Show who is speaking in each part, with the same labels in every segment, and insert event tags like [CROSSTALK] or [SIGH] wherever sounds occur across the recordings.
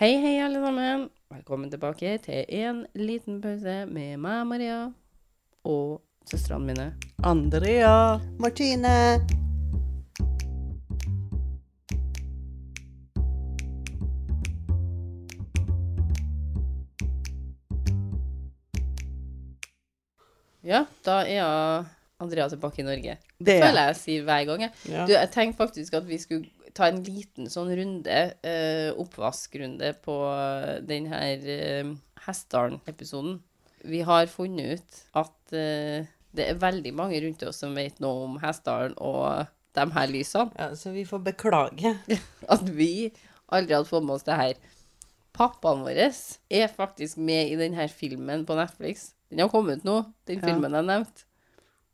Speaker 1: Hei, hei, alle sammen. Velkommen tilbake til en liten pause med meg, Maria, og søstrene mine.
Speaker 2: Andrea.
Speaker 3: Martine.
Speaker 1: Ja, da er jeg Andrea tilbake i Norge.
Speaker 2: Det er
Speaker 1: Føler jeg sier hver gang. jeg.
Speaker 2: ja.
Speaker 1: Du, jeg tenkte faktisk at vi skulle ta en liten sånn runde, eh, oppvaskrunde, på den her eh, Hessdalen-episoden. Vi har funnet ut at eh, det er veldig mange rundt oss som vet noe om Hessdalen og de her lysene.
Speaker 2: ja. Så vi får beklage.
Speaker 1: [LAUGHS] at vi aldri hadde fått med oss det her. Pappaen vår er faktisk med i denne filmen på Netflix. Den har kommet nå, den
Speaker 2: Ja.
Speaker 1: filmen jeg nevnte,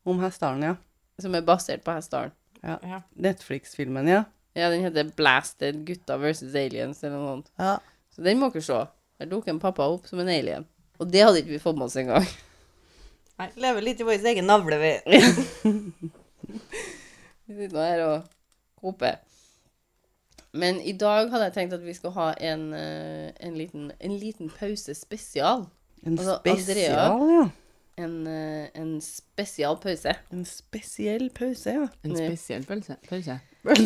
Speaker 2: Om Hessdalen, ja.
Speaker 1: som er basert på Hessdalen.
Speaker 2: ja. Netflix-filmen, ja.
Speaker 1: Ja, den heter 'Blasted gutta versus aliens' eller noe sånt.
Speaker 3: Ja.
Speaker 1: Så den må dere se. Der dukker en pappa opp som en alien. Og det hadde ikke vi fått med oss engang. [LAUGHS]
Speaker 2: Nei, lever litt i vår egen navle, vi.
Speaker 1: Vi sitter nå her og koper. Men i dag hadde jeg tenkt at vi skulle ha en, eh, en, liten, en liten pause spesial.
Speaker 2: En
Speaker 1: Altså, Andrea-
Speaker 2: spesial, ja.
Speaker 1: En, eh, en spesial pause.
Speaker 2: En spesiell pause, ja.
Speaker 4: En
Speaker 1: Nei.
Speaker 4: spesiell pølse. [LAUGHS] Pølse.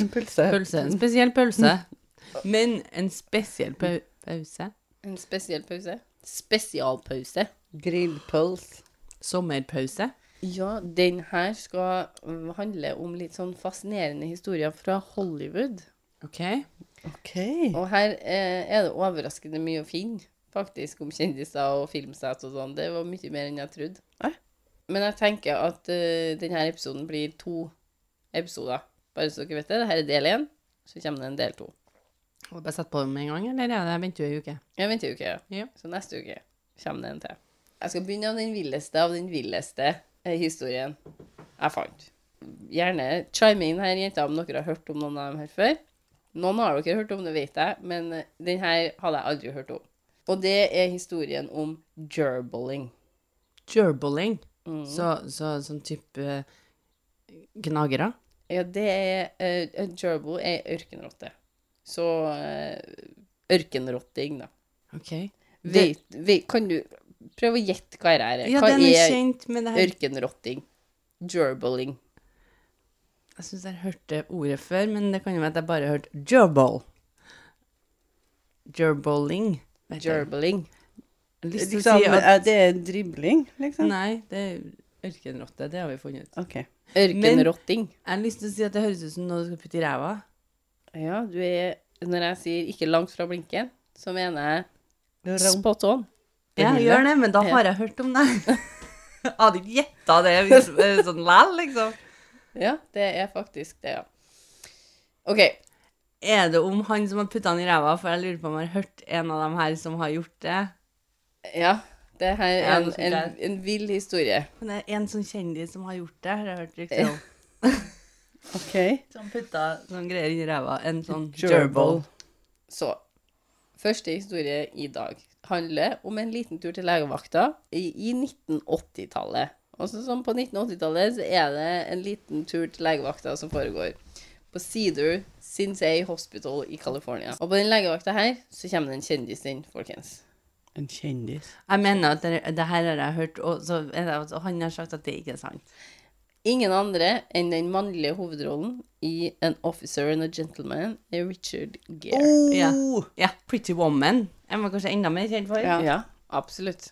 Speaker 2: Pølse.
Speaker 4: pølse. En spesiell pølse. [LAUGHS] Men en spesiell pau pause.
Speaker 1: En spesiell pause. Spesialpause.
Speaker 2: Grillpøls.
Speaker 4: Sommerpause.
Speaker 1: Ja, den her skal mm, handle om litt sånn fascinerende historier fra Hollywood.
Speaker 4: OK.
Speaker 2: Ok.
Speaker 1: Og her eh, er det overraskende mye å finne, faktisk, om kjendiser og filmsett og sånn. Det var mye mer enn jeg trodde.
Speaker 2: Hæ?
Speaker 1: Men jeg tenker at eh, denne episoden blir to episoder. Bare så dere vet det. Dette er del én, så kommer det en del to.
Speaker 4: Har jeg bare satt på den med en gang, eller er det jeg venter jo ei uke?
Speaker 1: Jeg venter jo ikke.
Speaker 4: Ja.
Speaker 1: Så neste uke kommer det en til. Jeg skal begynne av den villeste av den villeste eh, historien jeg fant. Gjerne chime inn her, jenter, om dere har hørt om noen av dem her før. Noen har dere hørt om, det vet jeg, men eh, den her hadde jeg aldri hørt om. Og det er historien om gerbiling.
Speaker 4: Gerbiling.
Speaker 1: Mm.
Speaker 4: Så, så sånn type eh, gnagere.
Speaker 1: Ja, det er eh, En gerbil er ørkenrotte. Så eh, ørkenrotting, da.
Speaker 4: OK.
Speaker 1: Vet, vet, kan du prøve å gjette hva det her er?
Speaker 4: Ja,
Speaker 1: hva
Speaker 4: den er kjent, men det her,
Speaker 1: Ørkenrotting. Gerbiling.
Speaker 4: jeg syns jeg hørte ordet før, men det kan jo være at jeg bare har hørt gerbil. Gerbiling. vet jeg.
Speaker 1: Gerbiling.
Speaker 4: Jeg har lyst til å
Speaker 2: Liksom,
Speaker 4: si at
Speaker 2: er det dribling, liksom?
Speaker 4: Nei, det er ørkenrotte. Det har vi funnet ut.
Speaker 2: Ok.
Speaker 1: Ørkenrotting.
Speaker 4: Jeg har lyst til å si at det høres ut som noe du skal putte i ræva.
Speaker 1: Ja, du er Når jeg sier 'ikke langt fra blinken', så mener jeg
Speaker 2: Rump.
Speaker 1: spot on.
Speaker 2: Ja,
Speaker 4: Ja,
Speaker 2: gjør
Speaker 4: gjør det, men da
Speaker 1: Ja.
Speaker 4: har jeg hørt om [LAUGHS] det. Jeg hadde ikke gjetta det hvis, eh, sånn læl, liksom.
Speaker 1: Ja, det er faktisk det, ja. OK.
Speaker 4: Er det om han som har putta den i ræva? For jeg lurer på om jeg har hørt en av dem her som har gjort det.
Speaker 1: Ja. Det her er sånn
Speaker 4: Ja,
Speaker 1: en,
Speaker 4: det synes
Speaker 1: en, en vill historie.
Speaker 4: Men det er en sånn kjendis som har gjort det, har jeg hørt rykter om.
Speaker 2: Ok.
Speaker 4: Som putta sånn greier i ræva. En sånn
Speaker 2: Gerbil.
Speaker 4: gerbil.
Speaker 1: Så Første historie i dag handler om en liten tur til legevakta i, i 1980-tallet. Altså som på 1980-tallet så er det en liten tur til legevakta som foregår på Cedar Sinzay Hospital i California. Og på den legevakta her så kommer det en kjendis inn, folkens.
Speaker 2: En kjendis.
Speaker 4: Jeg mener at det, det her har jeg hørt, og så er det, altså, han har sagt at det ikke er sant.
Speaker 1: Ingen andre enn den mannlige hovedrollen i An Officer and a Gentleman er Richard Gere.
Speaker 4: Ja.
Speaker 2: Oh!
Speaker 4: Ja, Pretty Woman. Jeg var kanskje enda mer kjent for.
Speaker 2: Ja.
Speaker 1: Ja, absolutt.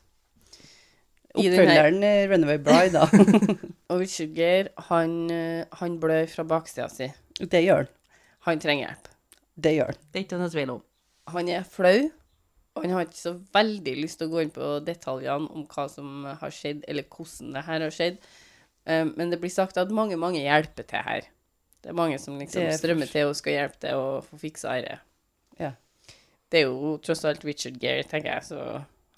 Speaker 1: I den her-
Speaker 2: Oppfølgeren er eh, Runaway Bride, da. [LAUGHS]
Speaker 1: Og Richard Gere, han, eh, han blør fra baksida si.
Speaker 2: Det gjør han.
Speaker 1: Han trenger hjelp.
Speaker 2: Det gjør han.
Speaker 4: Det er ikke noe tvil om.
Speaker 1: Han er flau, og han har ikke så veldig lyst til å gå inn på detaljene om hva som har skjedd, eller hvordan det her har skjedd. Eh, Men det blir sagt at mange, mange hjelper til her. Det er mange som liksom
Speaker 2: Det er
Speaker 1: strømmer til og skal hjelpe til å få fiksa dette.
Speaker 2: Ja.
Speaker 1: Det er jo tross alt Richard Gere, tenker jeg, så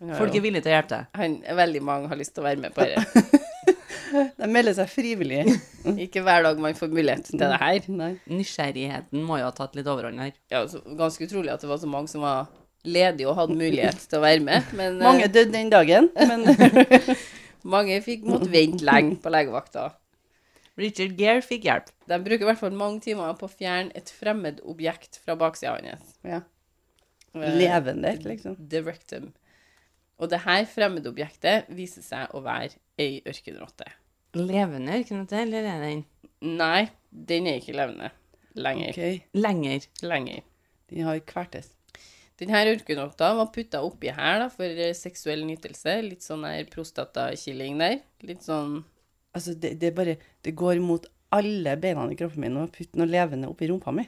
Speaker 1: han, har
Speaker 4: Folk er
Speaker 1: jo,
Speaker 4: villige til å hjelpe deg.
Speaker 1: han Veldig mange har lyst til å være med på dette.
Speaker 2: [LAUGHS] De melder seg
Speaker 1: [LAUGHS]
Speaker 2: frivillig.
Speaker 1: Ikke hver dag man får mulighet til det her.
Speaker 2: Nei.
Speaker 4: Nysgjerrigheten må jo ha tatt litt overhånd her.
Speaker 1: ja, så ganske utrolig at det var så mange som var ledige og hadde mulighet til å være med.
Speaker 2: [LAUGHS]
Speaker 1: Men eh,
Speaker 2: Mange døde den dagen, men
Speaker 1: mange fikk måtte vente lenge på legevakta.
Speaker 4: Richard Gere fikk hjelp.
Speaker 1: De bruker i hvert fall mange timer på å fjerne et fremmed objekt fra baksida hans. eh,
Speaker 2: ja. Levende, liksom.
Speaker 1: The rectum. Og det her fremmedobjektet viser seg å være ei ørkenrotte.
Speaker 4: Levende ørkenrotte, eller er den
Speaker 1: Nei, den er ikke levende lenger.
Speaker 2: Ok,
Speaker 4: lenger?
Speaker 1: lenger.
Speaker 2: de har kvertes.
Speaker 1: Denne ørkenrotta var putta oppi her da, for eh, seksuell nytelse. Litt sånn der prostatakilling der. Litt sånn
Speaker 2: Altså, det, det er bare, det går mot alle beina i kroppen min å putte noe levende oppi rumpa mi.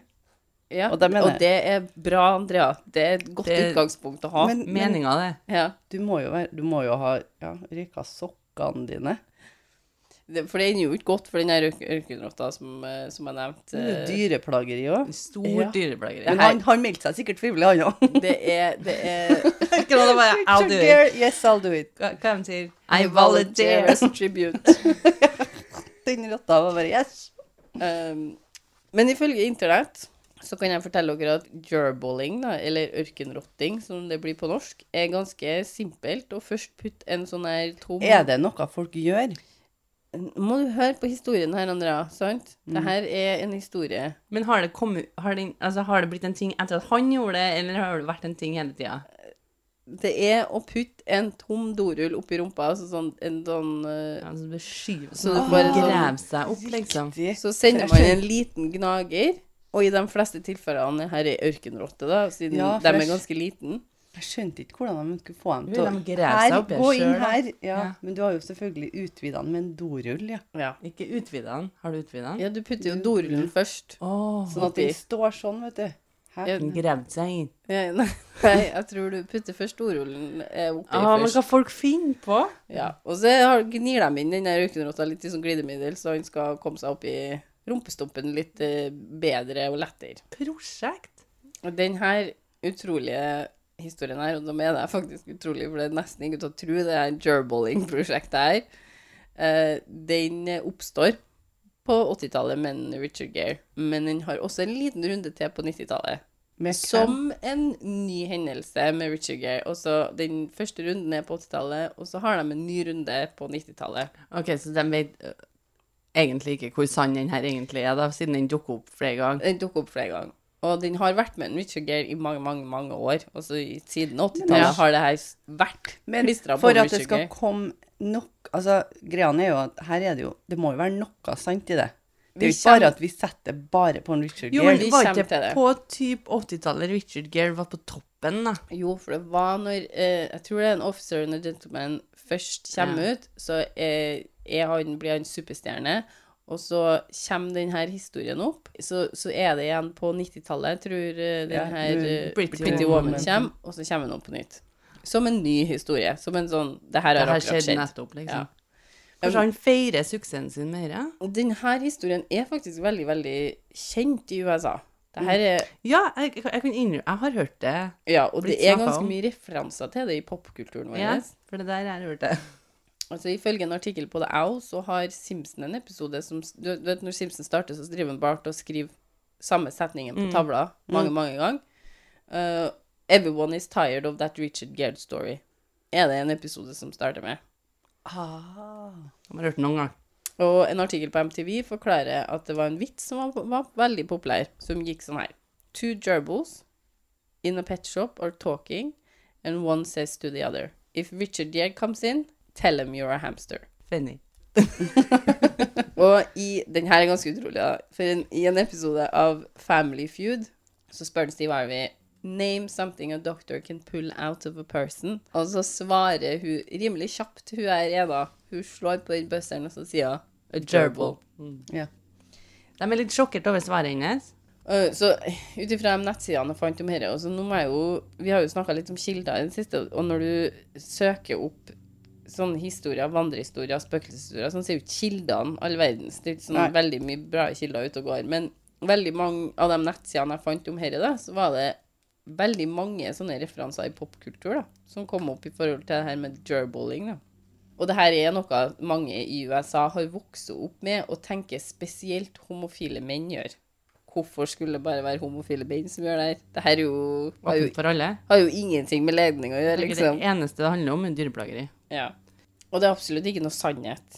Speaker 1: Ja,
Speaker 2: Og det mener jeg.
Speaker 1: og det er bra, Andrea. Det er et godt
Speaker 4: Det-
Speaker 1: utgangspunkt å ha.
Speaker 2: Men, men
Speaker 4: Meninga, det.
Speaker 1: ja.
Speaker 2: du, må jo være, du må jo ha ja, ryka sokkene dine.
Speaker 1: Det- For det ender jo ikke godt for den her ørk- ørkenrotta som, eh, som jeg nevnte.
Speaker 2: Det er jo dyreplageri òg.
Speaker 4: Stort
Speaker 1: Ja.
Speaker 4: dyreplageri.
Speaker 2: Men han, han meldte seg sikkert frivillig, han òg.
Speaker 1: Det er, det er
Speaker 2: [LAUGHS]
Speaker 4: Ørkenrotta [LAUGHS] bare [LAUGHS] I'll do it.
Speaker 2: Yes, I'll do it.
Speaker 4: Hva hva de sier? I volunteer.
Speaker 1: Volunteers tribute.
Speaker 2: Den rotta var bare yes.
Speaker 1: Um, men ifølge internett så kan jeg fortelle dere at gerboling, da, eller ørkenrotting, som det blir på norsk, er ganske simpelt å først putte en sånn her tom
Speaker 2: Er det noe folk gjør?
Speaker 1: Må du høre på historien her, Andrea, sant?
Speaker 2: Mm.
Speaker 1: Det her er en historie.
Speaker 4: Men har det, kommet, har, det, altså, har det blitt en ting etter at han gjorde det, eller har det vært en ting hele tida?
Speaker 1: Det er å putte en tom dorull oppi rumpa, altså sånn en sånn uh,
Speaker 4: Altså, det skyver
Speaker 1: Så
Speaker 4: så
Speaker 1: det
Speaker 4: det
Speaker 1: bare sånn-
Speaker 4: graver seg opp, liksom.
Speaker 1: Så sender man en liten gnager, og i de fleste tilfellene her er ørkenrotte, da, siden
Speaker 2: Ja, for
Speaker 1: de
Speaker 2: jeg-
Speaker 1: er ganske liten.
Speaker 2: Jeg skjønte ikke hvordan de skulle få dem
Speaker 4: Vil
Speaker 2: til
Speaker 4: de grave seg opp i
Speaker 2: gå inn
Speaker 4: selv, da?
Speaker 2: her. Ja,
Speaker 4: Ja.
Speaker 2: Men du har jo selvfølgelig utvida den med en dorull, ja.
Speaker 1: Ja.
Speaker 4: Ikke utvide den. Har du utvida den?
Speaker 1: ja, du putter jo dorullen først.
Speaker 4: Åh,
Speaker 1: Sånn at
Speaker 2: Den
Speaker 1: de
Speaker 2: står sånn, vet du. Hæ?
Speaker 1: Ja.
Speaker 4: den gravde seg inn.
Speaker 1: Ja, [LAUGHS] Nei, nei, jeg tror du putter først ordrullen eh, oppi
Speaker 4: Ah, men
Speaker 1: først.
Speaker 4: hva folk finner på?
Speaker 1: Ja. Og så har, gnir de inn den der røykenrotta litt i sånn glidemiddel, så han skal komme seg opp i rumpestumpen litt eh, bedre og lettere.
Speaker 4: Prosjekt?
Speaker 1: Og Den her utrolige historien her, og da mener jeg faktisk utrolig, for det er nesten ikke til å tro, det her gerboling-prosjektet her, eh, den eh, oppstår på 80-tallet med en Richard Gere, men den har også en liten runde til på 90-tallet.
Speaker 2: Med hvem?
Speaker 1: Som en ny hendelse med Richard Gere. Og så Den første runden er på 80-tallet, og så har de en ny runde på 90-tallet.
Speaker 4: Ok, så de vet øh, egentlig ikke hvor sann den her egentlig er, da, siden den dukker opp flere ganger.
Speaker 1: Den dukker opp flere ganger. Og den har vært med en Richard Gere i mange mange, mange år. Og så i- siden 80-tallet
Speaker 2: Men-
Speaker 1: har det her s- vært
Speaker 2: Men
Speaker 1: klistra på
Speaker 2: for at det
Speaker 1: Richard
Speaker 2: skal
Speaker 1: Gere.
Speaker 2: komme nok Altså, greia er jo at her er det jo Det må jo være noe sant i det. Det er
Speaker 1: Vi
Speaker 2: jo ikke bare
Speaker 1: kjem-
Speaker 2: at vi setter det bare på en Richard
Speaker 4: Jo,
Speaker 2: Gere.
Speaker 4: men
Speaker 1: vi
Speaker 4: var
Speaker 1: kommer til
Speaker 4: ikke
Speaker 1: det.
Speaker 4: på typ 80-tallet Richard Gere var på toppen, da?
Speaker 1: Jo, for det var når eh, Jeg tror det er en officer and a gentleman først kommer
Speaker 4: Ja.
Speaker 1: ut, så er, er han, blir han superstjerne. Og så kommer denne historien opp. Så, så er det igjen på 90-tallet, jeg tror eh,
Speaker 2: Ja,
Speaker 1: den her
Speaker 2: når
Speaker 1: eh,
Speaker 4: Pretty
Speaker 1: Pretty
Speaker 4: Woman.
Speaker 1: Woman kommer, og så kommer den opp på nytt. Som en ny historie. Som en sånn Det her
Speaker 4: Det
Speaker 1: har
Speaker 4: her
Speaker 1: akkurat
Speaker 4: skjedde
Speaker 1: skjedd.
Speaker 4: nettopp,
Speaker 1: Ja.
Speaker 4: liksom. Kanskje han feirer suksessen sin mer? ja?
Speaker 1: Denne historien er faktisk veldig, veldig kjent i USA. Det her er
Speaker 4: Ja, jeg, jeg, kan innrømme Jeg har hørt det.
Speaker 1: Ja, og det
Speaker 4: Blitt
Speaker 1: er
Speaker 4: snakket
Speaker 1: ganske
Speaker 4: om.
Speaker 1: mye referanser til det i popkulturen vår.
Speaker 4: Ja, for det der jeg har hørt det.
Speaker 1: Altså, Ifølge en artikkel på The Owl så har Simpson en episode som Du vet når Simpson starter, så driver han bare til å skrive samme setningen
Speaker 4: Mm.
Speaker 1: på tavla mange, mange ganger. Uh, Everyone is tired of that Richard Gere story. Er det en episode som starter med?
Speaker 2: Ah.
Speaker 4: Jeg har hørt det noen gang.
Speaker 1: Og en artikkel på MTV forklarer at det var en vits som var, var veldig populær, som gikk sånn her. Two gerbils in a pet shop are talking, and one says to the other, If Richard Gere comes in, tell him you're a hamster.
Speaker 4: Funny.
Speaker 1: Og i den her er ganske utrolig, da. For en, i en episode av Family Feud så spør han Steve Harvey Name something a doctor can pull out of a person. Og så svarer hun rimelig kjapt, hun her er da. Hun slår på den buzzeren, og så sier hun A gerbil.
Speaker 2: Ja.
Speaker 4: De er litt sjokkert over svaret hennes.
Speaker 1: Uh, Så ut ifra de nettsidene jeg fant om dette og så nå må jeg jo, Vi har jo snakka litt om kilder i det siste, og når du søker opp sånne sånn historier, vandrehistorier, spøkelseshistorier, sånn ser jo ikke kildene all verdens. Det er jo ikke sånn
Speaker 2: Nei.
Speaker 1: veldig mye bra kilder ute og går. Men veldig mange av de nettsidene jeg fant om dette, da, så var det veldig mange sånne referanser i popkultur da, som kom opp i forhold til det her med gerboling. da. Og det her er noe mange i USA har vokst opp med og tenker spesielt homofile menn gjør. Hvorfor skulle det bare være homofile menn som gjør det her? Det her er jo, har, jo,
Speaker 4: Åpent for alle.
Speaker 1: har jo ingenting med legning å gjøre,
Speaker 4: Det er ikke
Speaker 1: liksom.
Speaker 4: det eneste det handler om, er dyreplageri.
Speaker 1: Ja. Og det er absolutt ikke noe sannhet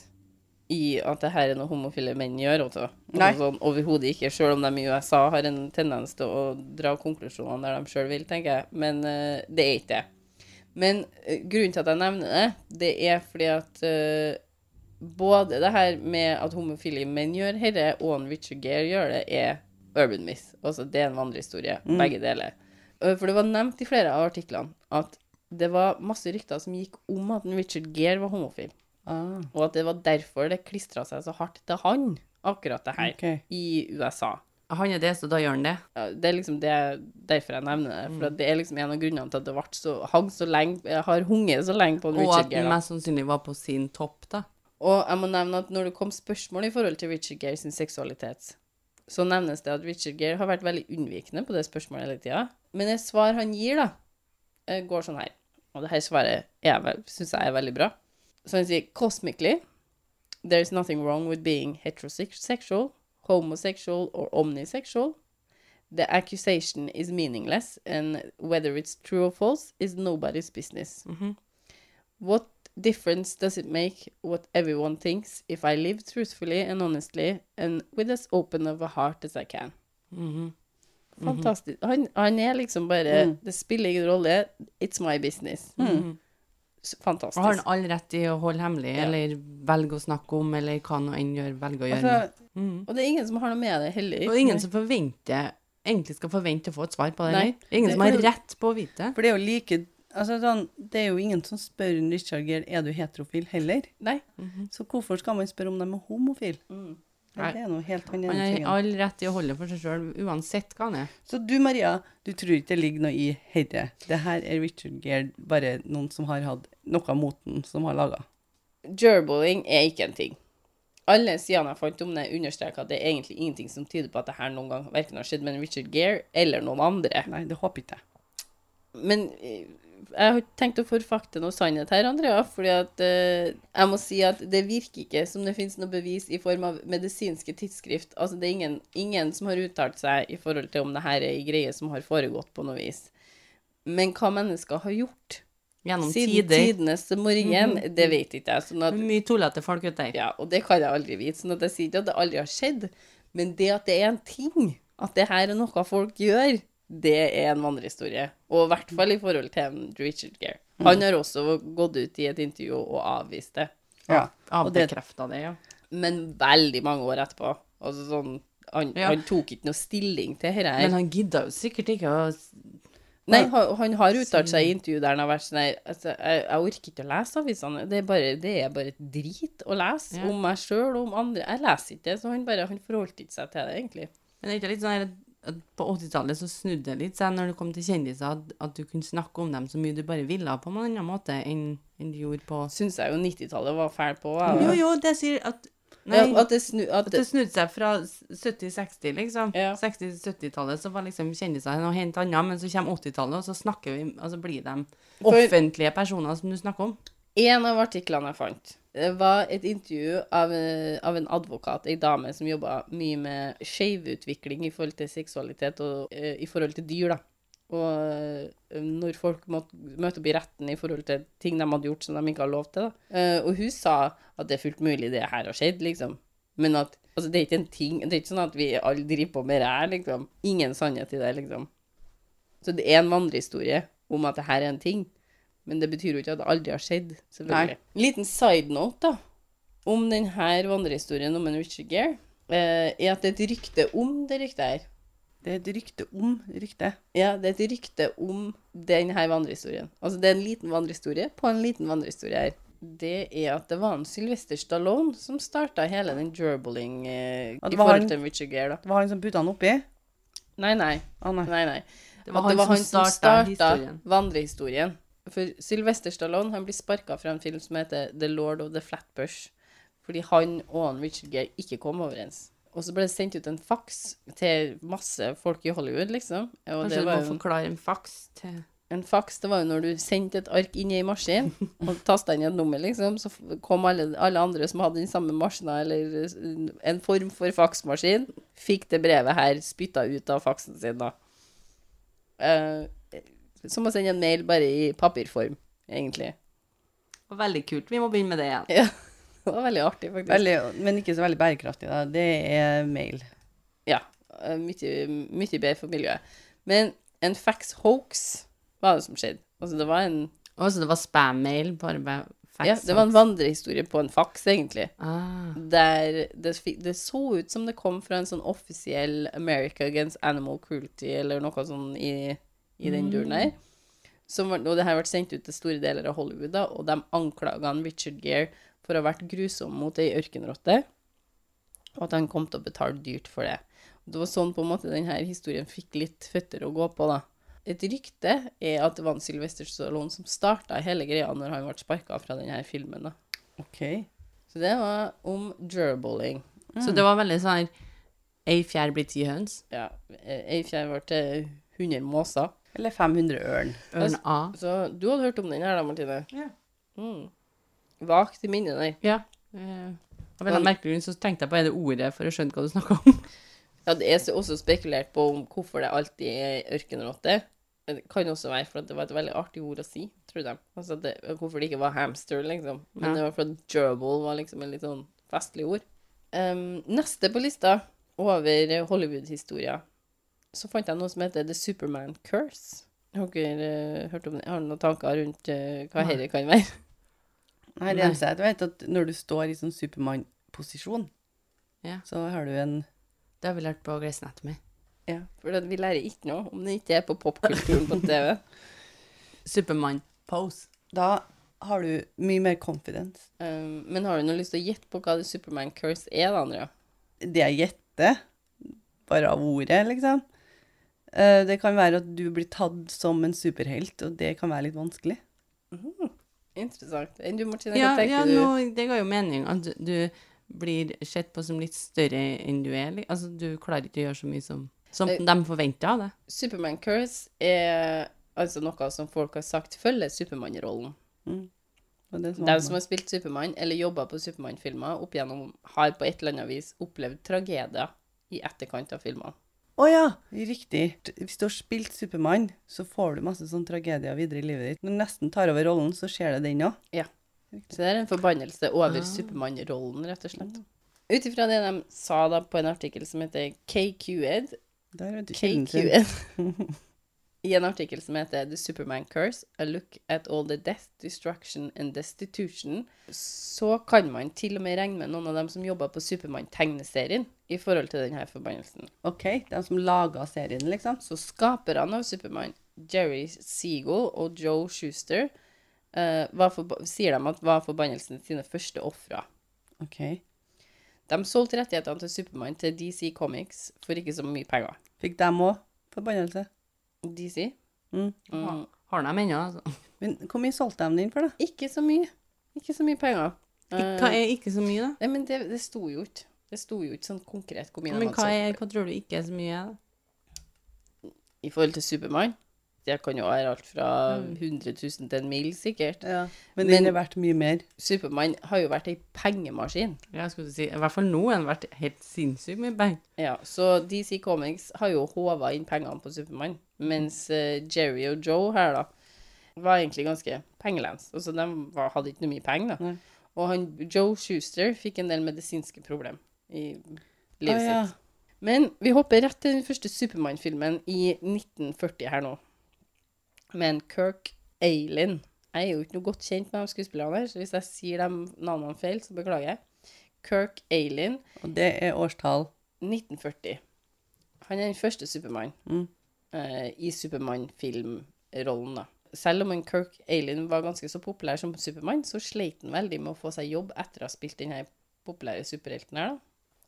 Speaker 1: i at det her er noe homofile menn gjør. Også.
Speaker 2: Nei.
Speaker 1: Altså, sånn, Overhodet ikke, selv om de i USA har en tendens til å dra konklusjonene der de sjøl vil, tenker jeg. Men eh, det er ikke det. Men eh, grunnen til at jeg nevner det, det er fordi at eh, både det her med at homofile menn gjør dette, og en Richard Gere gjør det, er urban myth. Altså, det er en vandrehistorie.
Speaker 4: Mm.
Speaker 1: Begge deler. Eh, For det var nevnt i flere av artiklene at det var masse rykter som gikk om at en Richard Gere var homofil.
Speaker 2: Ah,
Speaker 1: Og at det var derfor det klistra seg så hardt til han, akkurat det her,
Speaker 2: Ok.
Speaker 1: i USA.
Speaker 4: Han er det, så da gjør han det.
Speaker 1: Ja, Det er liksom det, derfor jeg nevner det.
Speaker 4: Mm.
Speaker 1: For at det er liksom en av grunnene til at det ble så, hang så lenge, eh, har hunget så lenge på en
Speaker 4: Og
Speaker 1: Richard
Speaker 4: at
Speaker 1: Gere.
Speaker 4: den
Speaker 1: da.
Speaker 4: mest sannsynlig var på sin topp, da.
Speaker 1: Og jeg må nevne at når det kom spørsmål i forhold til Richard Gere sin seksualitet, så nevnes det at Richard Gere har vært veldig unnvikende på det spørsmålet hele tida. Men et svar han gir, da, eh, går sånn her. Og det her svaret syns jeg er veldig bra. Så han sier cosmically there's nothing wrong with being heterosexual, homosexual or omnisexual. The accusation is meaningless, and whether it's true or false is nobody's business. What difference does it make what everyone thinks if I live truthfully and honestly and with as open of a heart as I can? Mhm.
Speaker 4: Mhm.
Speaker 1: Fantastisk. Han, han er liksom bare
Speaker 4: Mm.
Speaker 1: Det spiller ingen rolle. It's my business. Mm. S- Fantastisk.
Speaker 4: Og har han all rett i å holde hemmelig, eller velge å snakke om, eller hva nå enn gjør, velge å gjøre. Mhm.
Speaker 2: Altså,
Speaker 1: Og det er ingen som har noe med det heller.
Speaker 4: Og ingen som forventer, egentlig skal forvente å få et svar på det.
Speaker 1: Nei.
Speaker 4: eller? Ingen
Speaker 1: Det
Speaker 4: som har
Speaker 1: kan-
Speaker 4: rett på å vite.
Speaker 2: for det er jo like altså, sånn, Det er jo ingen som spør en Richard Gere er du heterofil heller.
Speaker 1: Nei.
Speaker 2: Så hvorfor skal man spørre om de er homofil? Ja,
Speaker 4: Nei.
Speaker 2: det er noe helt han
Speaker 4: Han
Speaker 2: ene
Speaker 4: har
Speaker 2: tingen.
Speaker 4: all rett i å holde det for seg sjøl, uansett hva han er.
Speaker 2: Så du, Maria, du tror ikke det ligger noe i herre. Det her er Richard Gere, bare noen som har hatt noe mot den, som har laga.
Speaker 1: Gerboling er ikke en ting. Alle sidene jeg fant om det, understreker at det er egentlig ingenting som tyder på at det her noen gang verken har skjedd med en Richard Gere eller noen andre.
Speaker 2: Nei, det håper ikke jeg.
Speaker 1: Men eh, jeg har tenkt å forfakte noe sannhet her, Andrea, fordi at eh, jeg må si at det virker ikke som det finnes noe bevis i form av medisinske tidsskrift. Altså, det er ingen, ingen som har uttalt seg i forhold til om det her er ei greie som har foregått på noe vis. Men hva mennesker har gjort
Speaker 4: Gjennom
Speaker 1: siden
Speaker 4: tider.
Speaker 1: tidenes morgen, det vet ikke jeg. Sånn at
Speaker 4: Mye tullete folk ute der.
Speaker 1: Ja, og det kan jeg aldri vite. Sånn at jeg sier ikke at det aldri har skjedd, men det at det er en ting, at det her er noe folk gjør, det er en vandrehistorie. Og i hvert fall i forhold til en Richard Gere.
Speaker 4: Mm.
Speaker 1: Han har også gått ut i et intervju og avvist det,
Speaker 2: Ja. Og det,
Speaker 4: Avbekrefta det, ja.
Speaker 1: men veldig mange år etterpå. Altså sånn, han,
Speaker 4: Ja.
Speaker 1: han tok ikke noe stilling til dette her.
Speaker 4: Men han gidda jo sikkert ikke å
Speaker 1: Nei, han, han har uttalt seg i intervju der han har vært sånn her altså, jeg, jeg orker ikke å lese avisene. Det er bare, det er bare drit å lese
Speaker 4: Ja.
Speaker 1: om meg sjøl og om andre. Jeg leser ikke det, så han bare han forholdt ikke seg til det, egentlig.
Speaker 4: Men det er ikke litt sånn her at- at på 80-tallet så snudde det litt seg når det kom til kjendiser, at, at du kunne snakke om dem så mye du bare ville på en annen måte enn, enn du gjorde på
Speaker 1: Syns jeg jo 90-tallet var fæl på. jeg.
Speaker 4: Jo, jo, det sier at Nei,
Speaker 1: Ja, at det snu... At
Speaker 4: at det
Speaker 1: det,
Speaker 4: snudde seg fra 70-60, liksom.
Speaker 1: Ja.
Speaker 4: 60-70-tallet så var liksom kjendiser noe helt annet, men så kommer 80-tallet, og så snakker vi, altså blir de
Speaker 1: For-
Speaker 4: offentlige personer som du snakker om.
Speaker 1: en av artiklene jeg fant, det var et intervju av, eh, av en advokat, ei dame som jobba mye med skjevutvikling i forhold til seksualitet og eh, i forhold til dyr, da. Og eh, når folk måtte møte opp i retten i forhold til ting de hadde gjort som de ikke har lov til. Da. Eh, og hun sa at det er fullt mulig det her har skjedd, liksom. Men at altså, det er ikke en ting Det er ikke sånn at vi alle driver på med det her, liksom. Ingen sannhet i det, liksom. Så det er en vandrehistorie om at det her er en ting. Men det betyr jo ikke at det aldri har skjedd, selvfølgelig. En liten side note, da om denne vandrehistorien om en Richard Gere, eh, er at det er et rykte om det ryktet her.
Speaker 2: det er et rykte om ryktet.
Speaker 1: Ja, det er et rykte om denne vandrehistorien. Altså, det er en liten vandrehistorie på en liten vandrehistorie her. Det er at det var en Sylvester Stallone som starta hele den gerboling eh, i
Speaker 2: At det var
Speaker 1: forhold
Speaker 2: han?
Speaker 1: til Richard Gere, da.
Speaker 2: Det var han som putta han oppi.
Speaker 1: Nei, nei.
Speaker 2: Ah, nei.
Speaker 1: Nei, nei.
Speaker 4: Det var
Speaker 1: at det
Speaker 4: han
Speaker 1: var
Speaker 4: som
Speaker 1: han som
Speaker 4: starta
Speaker 1: starta
Speaker 4: historien.
Speaker 1: vandrehistorien. For Sylvester Stallone han blir sparka fra en film som heter The Lord of the Flatbush, fordi han og han Richard Gere ikke kom overens. Og så ble det sendt ut en faks til masse folk i Hollywood, liksom. Og
Speaker 4: Kanskje
Speaker 1: det
Speaker 4: du
Speaker 1: var
Speaker 4: må
Speaker 1: jo en,
Speaker 4: forklare en faks til
Speaker 1: en faks det var jo når du sendte et ark inn i en maskin [LAUGHS] og tasta inn et nummer, liksom, så f- kom alle, alle andre som hadde den samme maskina eller eh, en form for faksmaskin, fikk det brevet her spytta ut av faksen sin, da. Eh, som å sende en mail bare i papirform, egentlig.
Speaker 4: Veldig kult, vi må begynne med det igjen.
Speaker 1: Ja. Det var veldig artig, faktisk.
Speaker 2: Veldig, men ikke så veldig bærekraftig, da. Det er mail.
Speaker 1: Ja. eh, Mye, mye bedre for miljøet. Men en fax hoax var det som skjedde. Altså, det var en,
Speaker 4: Å, så det var spam-mail, bare med fax?
Speaker 1: ja, det var en vandrehistorie på en fax, egentlig.
Speaker 4: ah.
Speaker 1: Der det, fi- det så ut som det kom fra en sånn offisiell America Against Animal Cruelty eller noe sånn i, i den duren der. Som var, og det her ble sendt ut til store deler av Hollywood, da, og de anklaga han Richard Gere for å ha vært grusom mot ei ørkenrotte, og at han kom til å betale dyrt for det. Det var sånn på en måte denne historien fikk litt føtter å gå på, da. Et rykte er at det var en Sylvester Stallone som starta hele greia når han ble sparka fra denne filmen. da.
Speaker 2: OK.
Speaker 1: Så det var om gerboling.
Speaker 4: Så det var veldig sånn her, Ei fjær blir ti høns.
Speaker 1: Ja, ei fjær ble til 100 måser.
Speaker 2: Eller 500 ørn.
Speaker 4: Ørn
Speaker 1: Altså-
Speaker 4: A.
Speaker 1: Så du hadde hørt om den her da, Martine?
Speaker 4: Ja.
Speaker 1: Mm. Vagt i minnet der.
Speaker 4: Ja. eh, Av en eller annen merkelig grunn så tenkte jeg på er det ordet for å skjønne hva du snakker om.
Speaker 1: Ja, det er også spekulert på om hvorfor det alltid er ørkenrotte. Men Det kan også være for at det var et veldig artig ord å si, tror de. Altså at det, hvorfor det ikke var hamster, liksom. Men
Speaker 4: Ja.
Speaker 1: det var for at gerbil var liksom en litt sånn festlig ord. Em, neste på lista over Hollywood-historier, så fant jeg noe som heter The Superman Curse. Har dere eh, hørt om det? Har dere noen tanker rundt eh, hva
Speaker 4: Nei.
Speaker 1: dette kan være?
Speaker 2: Nei, det
Speaker 4: Nei.
Speaker 2: eneste jeg vet, at når du står i sånn Supermann-posisjon,
Speaker 4: Ja.
Speaker 2: så har du en
Speaker 4: Det har vi lært på Gressnett med.
Speaker 1: Ja, for det- vi lærer ikke noe om det ikke er på popkulturen på TV.
Speaker 4: Supermann-pose.
Speaker 2: Da har du mye mer confidence.
Speaker 1: Um, men har du noe lyst til å gjette på hva The Superman Curse er, da, Andrea?
Speaker 2: Det jeg gjetter, bare av ordet, liksom eh, Det kan være at du blir tatt som en superhelt, og det kan være litt vanskelig.
Speaker 1: Interessant. Enn du, Martine, hva
Speaker 4: Ja,
Speaker 1: tenker
Speaker 4: ja
Speaker 1: du?
Speaker 4: nå, det ga jo mening at du, du blir sett på som litt større enn du er. li- Altså, du klarer ikke å gjøre så mye som, som
Speaker 1: Eh.
Speaker 4: de forventer av deg.
Speaker 1: Superman Curse er altså noe som folk har sagt følger Supermann-rollen.
Speaker 2: Og det er
Speaker 1: De
Speaker 2: sånn-
Speaker 1: som har spilt Supermann eller jobba på Supermann-filmer, opp igjennom har på et eller annet vis opplevd tragedier i etterkant av filmene.
Speaker 2: Å ja, riktig. Hvis du har spilt Supermann, så får du masse sånn tragedier videre i livet ditt. Når du nesten tar over rollen, så skjer det den òg.
Speaker 1: Så det er en forbannelse
Speaker 4: Ah.
Speaker 1: over Supermann-rollen, rett og slett. Ut ifra det de sa da på en artikkel som heter KQED,
Speaker 2: Der vet du kilden sin.
Speaker 1: KQN. [LAUGHS] I en artikkel som heter The Superman Curse, A Look at All the Death, Destruction and Destitution, så kan man til og med regne med noen av dem som jobber på Supermann-tegneserien i forhold til denne forbannelsen.
Speaker 2: OK, de som laga serien, liksom.
Speaker 1: Så skaperne av Supermann, Jerry Seagull og Joe Schuster, eh, var forba- sier de at var forbannelsen sine første ofre.
Speaker 2: OK.
Speaker 1: De solgte rettighetene til Supermann til DC Comics for ikke så mye penger.
Speaker 2: Fikk dem òg forbannelse?
Speaker 1: DC?
Speaker 2: Mm.
Speaker 1: Mm.
Speaker 4: Har de ennå, altså.
Speaker 2: Men hvor mye solgte de den for, da?
Speaker 1: Ikke så mye. Ikke så mye penger. Eh,
Speaker 4: Hva er ikke så mye, da?
Speaker 1: Nei, men det, det sto jo ikke. Det sto jo ikke sånn konkret hvor mye de
Speaker 4: Men
Speaker 1: hadde
Speaker 4: hva,
Speaker 1: solgt.
Speaker 4: er, hva tror du ikke er så mye? da?
Speaker 1: I forhold til Supermann, det kan jo være alt fra
Speaker 4: Mm.
Speaker 1: 100 000 til en mil, sikkert.
Speaker 2: Men
Speaker 1: Men-
Speaker 2: den er verdt mye mer.
Speaker 1: Supermann
Speaker 2: Supermann
Speaker 1: har jo vært ei pengemaskin.
Speaker 4: Jeg skulle si, I hvert fall nå har den vært helt sinnssykt mye bang.
Speaker 1: Ja, så DC Comics har jo håva inn pengene på Supermann, mens eh, Jerry og Joe her da, var egentlig ganske pengelens. Altså, de var, hadde ikke noe mye penger da.
Speaker 2: Nei.
Speaker 1: Og han, Joe Schuster fikk en del medisinske problemer i livet
Speaker 2: Å, ja.
Speaker 1: sitt. Men vi hopper rett til den første Supermann-filmen i 1940 her nå. Med en Kirk Aylin. Jeg er jo ikke noe godt kjent med de skuespillerne her, så hvis jeg sier de navnene feil, så beklager jeg. Kirk Aylin,
Speaker 2: Og det er årstall.
Speaker 1: 1940. Han er den første Supermann
Speaker 2: Mm.
Speaker 1: eh, i Supermann-filmrollen, da. Selv om en Kirk Aylin var ganske så populær som Supermann, så sleit han veldig med å få seg jobb etter å ha spilt den her populære superhelten her, da.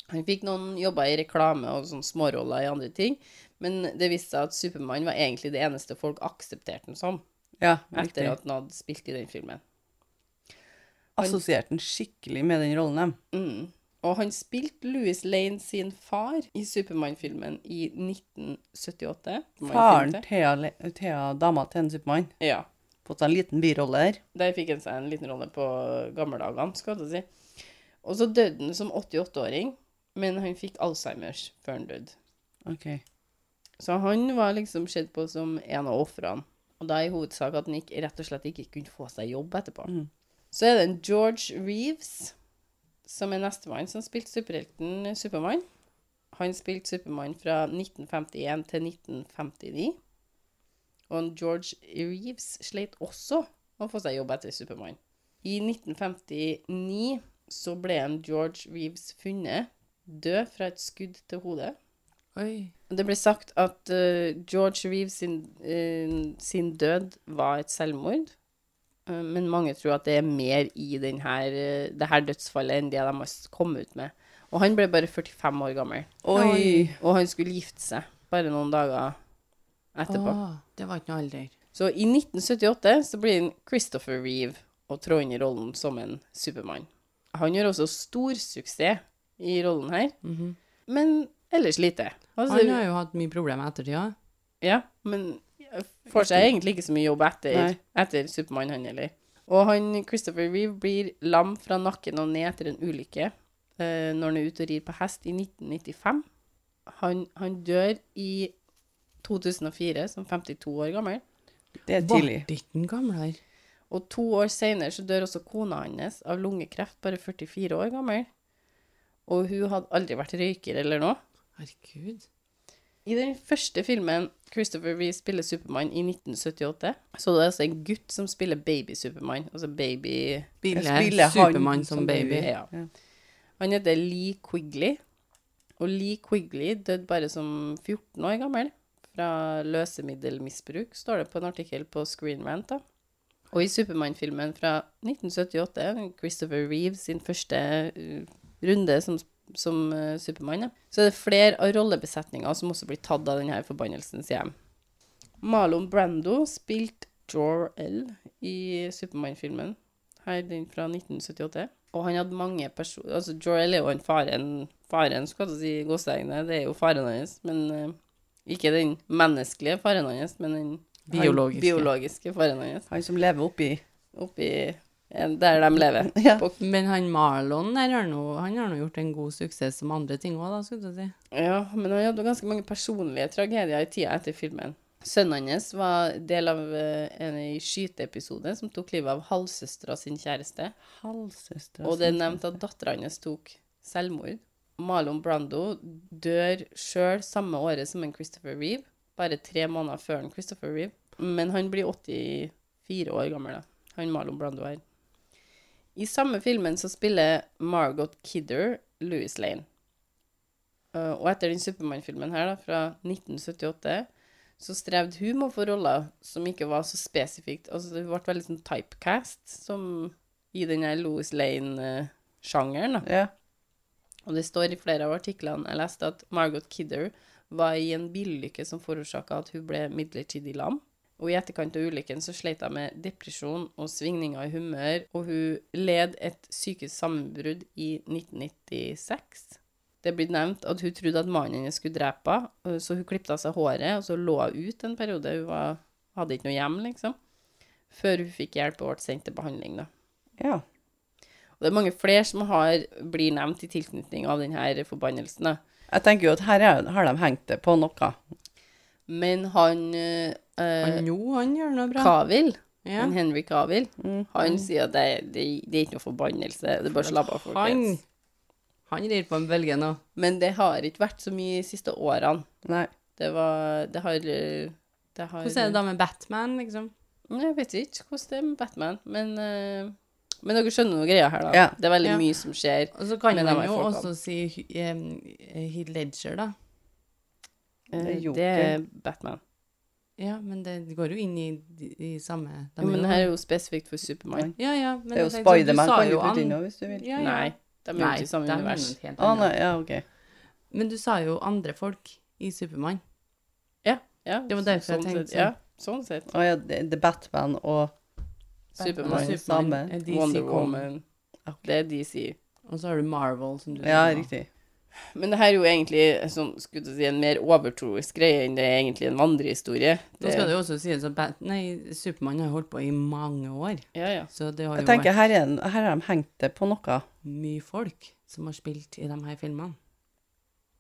Speaker 1: Han fikk noen jobber i reklame og sånne småroller i andre ting, men det viste seg at Supermann var egentlig det eneste folk aksepterte han som,
Speaker 2: Ja, riktig.
Speaker 1: etter at han hadde spilt i den filmen.
Speaker 2: Assosierte den skikkelig med den rollen, dem.
Speaker 1: Mm. Og han spilte Louis Lane sin far i Supermann-filmen i 1978. Man
Speaker 2: Faren
Speaker 1: finner det.
Speaker 2: Thea, Le- Thea dama til en Supermann.
Speaker 1: Ja.
Speaker 2: Fått seg en liten birolle her.
Speaker 1: Der fikk han seg en sånn liten rolle på gammeldagene, skal jeg til å si. Og så døde han som 88-åring, men han fikk Alzheimers før han døde.
Speaker 2: OK.
Speaker 1: Så han var liksom sett på som en av ofrene. Og da i hovedsak at han ikke, rett og slett ikke kunne få seg jobb etterpå.
Speaker 2: Mm.
Speaker 1: Så er det en George Reeves som er nestemann, som spilte superhelten Supermann. Han spilte Supermann fra 1951 til 1959. Og George Reeves sleit også med å få seg jobb etter Supermann. I 1959 så ble en George Reeves funnet død fra et skudd til hodet.
Speaker 4: Oi.
Speaker 1: Det ble sagt at eh, George Reeves sin, eh, sin død var et selvmord. Eh, men mange tror at det er mer i den her, eh, det her dødsfallet enn det de har s- kommet ut med. Og han ble bare 45 år gammel.
Speaker 2: Oi.
Speaker 1: Og han skulle gifte seg bare noen dager etterpå.
Speaker 4: Åh, det var ikke noe alder.
Speaker 1: Så i 1978 så blir han Christopher Reeve og trår inn i rollen som en Supermann. Han gjør også stor suksess i rollen her,
Speaker 4: Mhm.
Speaker 1: men ellers lite. Altså,
Speaker 4: Han har jo hatt mye problemer i ettertid.
Speaker 1: Ja, men får seg egentlig ikke så mye jobb etter,
Speaker 2: Nei.
Speaker 1: etter Supermann, han heller. Og han, Christopher Reeve blir lam fra nakken og ned etter en ulykke eh, når han er ute og rir på hest i 1995. Han, han dør i 2004 som 52 år gammel.
Speaker 2: Det er
Speaker 4: Ble
Speaker 2: tidlig.
Speaker 4: ikke han gamlere?
Speaker 1: Og to år senere så dør også kona hans av lungekreft, bare 44 år gammel. Og hun hadde aldri vært røyker eller noe.
Speaker 4: Herregud.
Speaker 1: I den første filmen Christopher Reeve spiller Supermann i 1978, så det er altså en gutt som spiller baby-Supermann, altså baby...
Speaker 2: spiller
Speaker 4: Spiller
Speaker 2: han
Speaker 4: Supermann som
Speaker 2: som
Speaker 4: baby.
Speaker 1: Ja. Han heter Lee Quigley, og Lee Quigley døde bare som 14 år gammel fra løsemiddelmisbruk, står det på en artikkel på Screen Rant da. Og i Supermann-filmen fra 1978, Christopher Reeve sin første uh, runde som, som uh, Supermann, ja, så er det flere av rollebesetninger som også blir tatt av denne forbannelsens hjem. Marlon Brando spilte Jor-El i Supermann-filmen, her den fra 1978. Og han hadde mange personer Altså, Jor-El er jo han faren Faren, skal jeg si, i gåseøynene. Det er jo faren hans, men eh, ikke den menneskelige faren hans, men den han
Speaker 4: Biologiske.
Speaker 1: biologiske faren hans
Speaker 2: Han som lever oppi
Speaker 1: oppi en- der de lever.
Speaker 2: Ja.
Speaker 1: På,
Speaker 4: Men han Marlon der har nå, han har nå gjort en god suksess som andre ting òg, da, skulle du si.
Speaker 1: ja, men han hadde ganske mange personlige tragedier i tida etter filmen. Sønnen hans var del av eh, en skyteepisode som tok livet av halvsøstera sin kjæreste.
Speaker 2: Halvsøstera
Speaker 1: Og det er nevnt at dattera hans tok selvmord. Marlon Brando dør sjøl samme året som en Christopher Reeve, bare tre måneder før en Christopher Reeve. Men han blir 84 år gammel, da. Han Marlon Brando her. I samme filmen så spiller Margot Kidder Louis Lane. Eh, Og etter den Supermann-filmen her, da, fra 1978, så strevde hun med å få roller som ikke var så spesifikt Altså, hun ble veldig sånn typecast, som i den her Louis Lane-sjangeren, da.
Speaker 2: Ja.
Speaker 1: Og det står i flere av artiklene jeg leste at Margot Kidder var i en bilulykke som forårsaka at hun ble midlertidig lam. Og i etterkant av ulykken så slet hun med depresjon og svingninger i humør, og hun led et psykisk sammenbrudd i 1996. Det blir nevnt at hun trodde at mannen hennes skulle drepe henne, så hun klippet av seg håret, og så lå hun ut en periode. Hun var, hadde ikke noe hjem, liksom. Før hun fikk hjelp og ble sendt til behandling, da.
Speaker 2: ja.
Speaker 1: Og det er mange flere som har, blir nevnt i tilknytning av denne forbannelsen. da.
Speaker 2: Jeg tenker jo at her er, har de hengt det på noe.
Speaker 1: Men han eh, eh,
Speaker 4: Han jo, han gjør noe bra.
Speaker 1: Cavill,
Speaker 4: Ja.
Speaker 1: han Henry Cavill,
Speaker 2: Mm.
Speaker 1: han sier at det, det, det er ikke noe forbannelse. Det er bare slapp av,
Speaker 4: Han,
Speaker 1: folkens.
Speaker 4: han rir på en bølge nå.
Speaker 1: Men det har ikke vært så mye de siste årene.
Speaker 2: Nei.
Speaker 1: Det var Det har eh, det har,
Speaker 4: Hvordan er det da med Batman, liksom?
Speaker 1: Nei, Jeg vet ikke hvordan det er med Batman, men eh, Men dere skjønner noe greia her, da.
Speaker 2: Ja.
Speaker 1: Det er veldig
Speaker 4: Ja.
Speaker 1: mye som skjer.
Speaker 4: Og så kan
Speaker 1: Men
Speaker 4: man
Speaker 1: de er
Speaker 4: jo
Speaker 1: folkene.
Speaker 4: også si Heed Ledger, da.
Speaker 1: Eh,
Speaker 2: Det er Joker.
Speaker 1: Det er Batman.
Speaker 4: Ja, men det går jo inn i, i samme de
Speaker 1: Jo, men
Speaker 4: er jo-
Speaker 1: det her er jo spesifikt for Supermann.
Speaker 4: Ja, ja. Men
Speaker 2: Det er jo
Speaker 4: jeg tenkte sånn, du
Speaker 2: Spiderman
Speaker 4: sa
Speaker 2: kan du
Speaker 4: jo
Speaker 2: putte
Speaker 4: an-
Speaker 2: inn òg, hvis du vil.
Speaker 4: Ja, ja.
Speaker 1: Nei, de er jo
Speaker 4: Nei,
Speaker 1: ikke i samme
Speaker 4: de er
Speaker 1: univers.
Speaker 4: noe helt
Speaker 2: Å
Speaker 4: annet.
Speaker 2: Ah, nei, ja, OK.
Speaker 4: Men du sa jo andre folk i Supermann.
Speaker 1: Ja,
Speaker 4: Det var derfor jeg
Speaker 1: sånn
Speaker 4: tenkte
Speaker 1: sett,
Speaker 4: sånn.
Speaker 1: Ja, sånn sett.
Speaker 2: Å ja, det, The Batman og
Speaker 1: Superman,
Speaker 2: Superman. samme.
Speaker 4: eh, DC
Speaker 1: Wonder
Speaker 4: kom.
Speaker 1: Woman. Det er DC.
Speaker 4: Og så har du Marvel, som du
Speaker 2: Ja,
Speaker 4: sa.
Speaker 2: riktig.
Speaker 1: Men det her er jo egentlig sånn, skulle jeg si, en mer overtroisk greie enn det er egentlig en vandrehistorie.
Speaker 4: Nå
Speaker 2: Eh.
Speaker 4: skal det jo også sies at Bat nei, Supermann har holdt på i mange år.
Speaker 1: Ja, ja.
Speaker 4: Så det har
Speaker 2: Jeg
Speaker 4: jo
Speaker 2: tenker her, er, den- her har de hengt det på noe.
Speaker 4: vært mye folk som har spilt i de her filmene.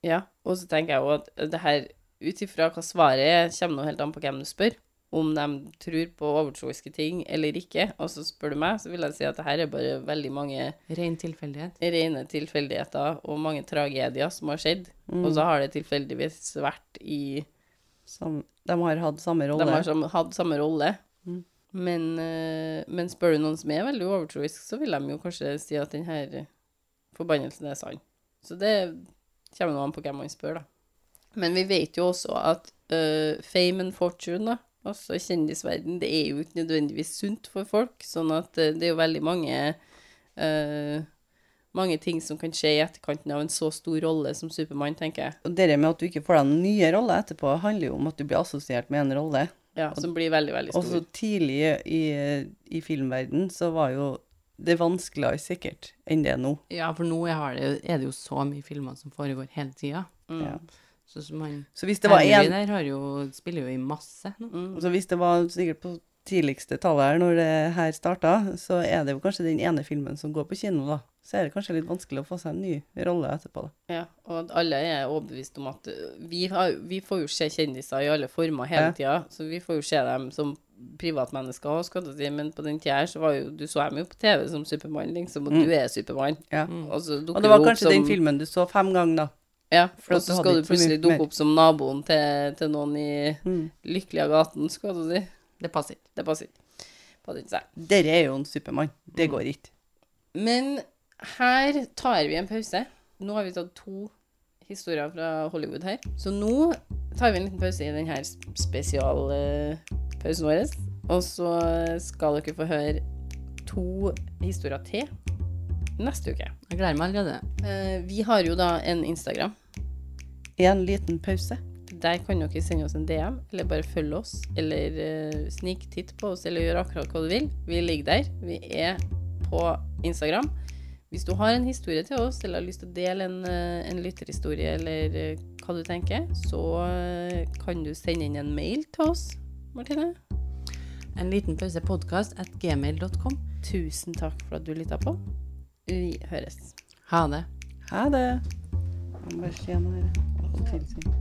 Speaker 1: ja. Og så tenker jeg jo at det her, ut ifra hva svaret er, kommer nå helt an på hvem du spør. om de tror på overtroiske ting eller ikke. Og så spør du meg, så vil jeg si at det her er bare veldig mange
Speaker 4: Ren tilfeldighet.
Speaker 1: rene tilfeldigheter og mange tragedier som har skjedd. Og så har det tilfeldigvis vært i
Speaker 2: Som, de har hatt samme rolle.
Speaker 1: De har sam, hatt samme rolle. Men, eh, men spør du noen som er veldig overtroisk, så vil de jo kanskje si at denne forbannelsen er sann. Så det kommer nå an på hvem man spør, da. Men vi vet jo også at eh, fame and fortune, da, altså kjendisverden, det er jo ikke nødvendigvis sunt for folk. Sånn at eh, det er jo veldig mange eh, mange ting som kan skje i etterkanten av en så stor rolle som Supermann, tenker jeg.
Speaker 2: Og det med at du ikke får deg nye roller etterpå, handler jo om at du blir assosiert med en rolle.
Speaker 1: Ja, som blir veldig, veldig stor.
Speaker 2: Og så tidlig i, i filmverden så var jo det vanskeligere sikkert enn det er nå.
Speaker 4: Ja, for nå har det, er det jo så mye filmer som foregår hele tida.
Speaker 2: Ja.
Speaker 4: Sånn som han
Speaker 2: Så hvis Mm. det var
Speaker 4: Henry
Speaker 2: en,
Speaker 4: der har jo, spiller jo i masse nå.
Speaker 1: Mm.
Speaker 2: så hvis det var sikkert på tidligste tallet her når det her starta, så er det jo kanskje den ene filmen som går på kino, da. Så er det kanskje litt vanskelig å få seg en ny rolle etterpå, da.
Speaker 1: Ja, og at alle er overbevist om at ø, vi, har, vi får jo se kjendiser i alle former hele
Speaker 2: Ja.
Speaker 1: tida, så vi får jo se dem som privatmennesker også, skal jeg si, men på den tida her så var jo Du så dem jo på TV som Supermann, liksom, og du er Supermann.
Speaker 2: Ja.
Speaker 1: Og så dukker
Speaker 2: Mm. Og det var
Speaker 1: du opp
Speaker 2: kanskje den
Speaker 1: som-
Speaker 2: filmen du så fem ganger, da.
Speaker 1: Ja,
Speaker 2: For
Speaker 1: og
Speaker 2: at
Speaker 1: så
Speaker 2: du hadde
Speaker 1: skal du
Speaker 2: ikke så mye
Speaker 1: plutselig dukke
Speaker 2: mer.
Speaker 1: opp som naboen til, til noen i
Speaker 2: Mm.
Speaker 1: Lykkelige gaten, skal jeg si.
Speaker 4: Det passer ikke.
Speaker 1: Det passer ikke. Passer ikke seg.
Speaker 2: Dere er jo en Supermann. Det går ikke.
Speaker 1: Men her tar vi en pause. Nå har vi tatt to historier fra Hollywood her. Så nå tar vi en liten pause i denne spesialpausen vår. Og så skal dere få høre to historier til neste uke.
Speaker 4: Jeg gleder meg allerede.
Speaker 1: Eh, Vi har jo da en Instagram.
Speaker 2: En liten pause.
Speaker 1: Der kan dere sende oss en DM, eller bare følge oss, eller eh, sniktitt på oss, eller gjøre akkurat hva du vil. Vi ligger der. Vi er på Instagram. Hvis du har en historie til oss, eller har lyst til å dele en, eh, en lytterhistorie, eller eh, hva du tenker, så eh, kan du sende inn en mail til oss, Martine.
Speaker 4: En liten pause podcast at gmail.com.
Speaker 1: Tusen takk for at du lytta på. Vi høres.
Speaker 4: Ha det.
Speaker 2: Ha det. Jeg må bare se noe her. Jeg får tilsyn.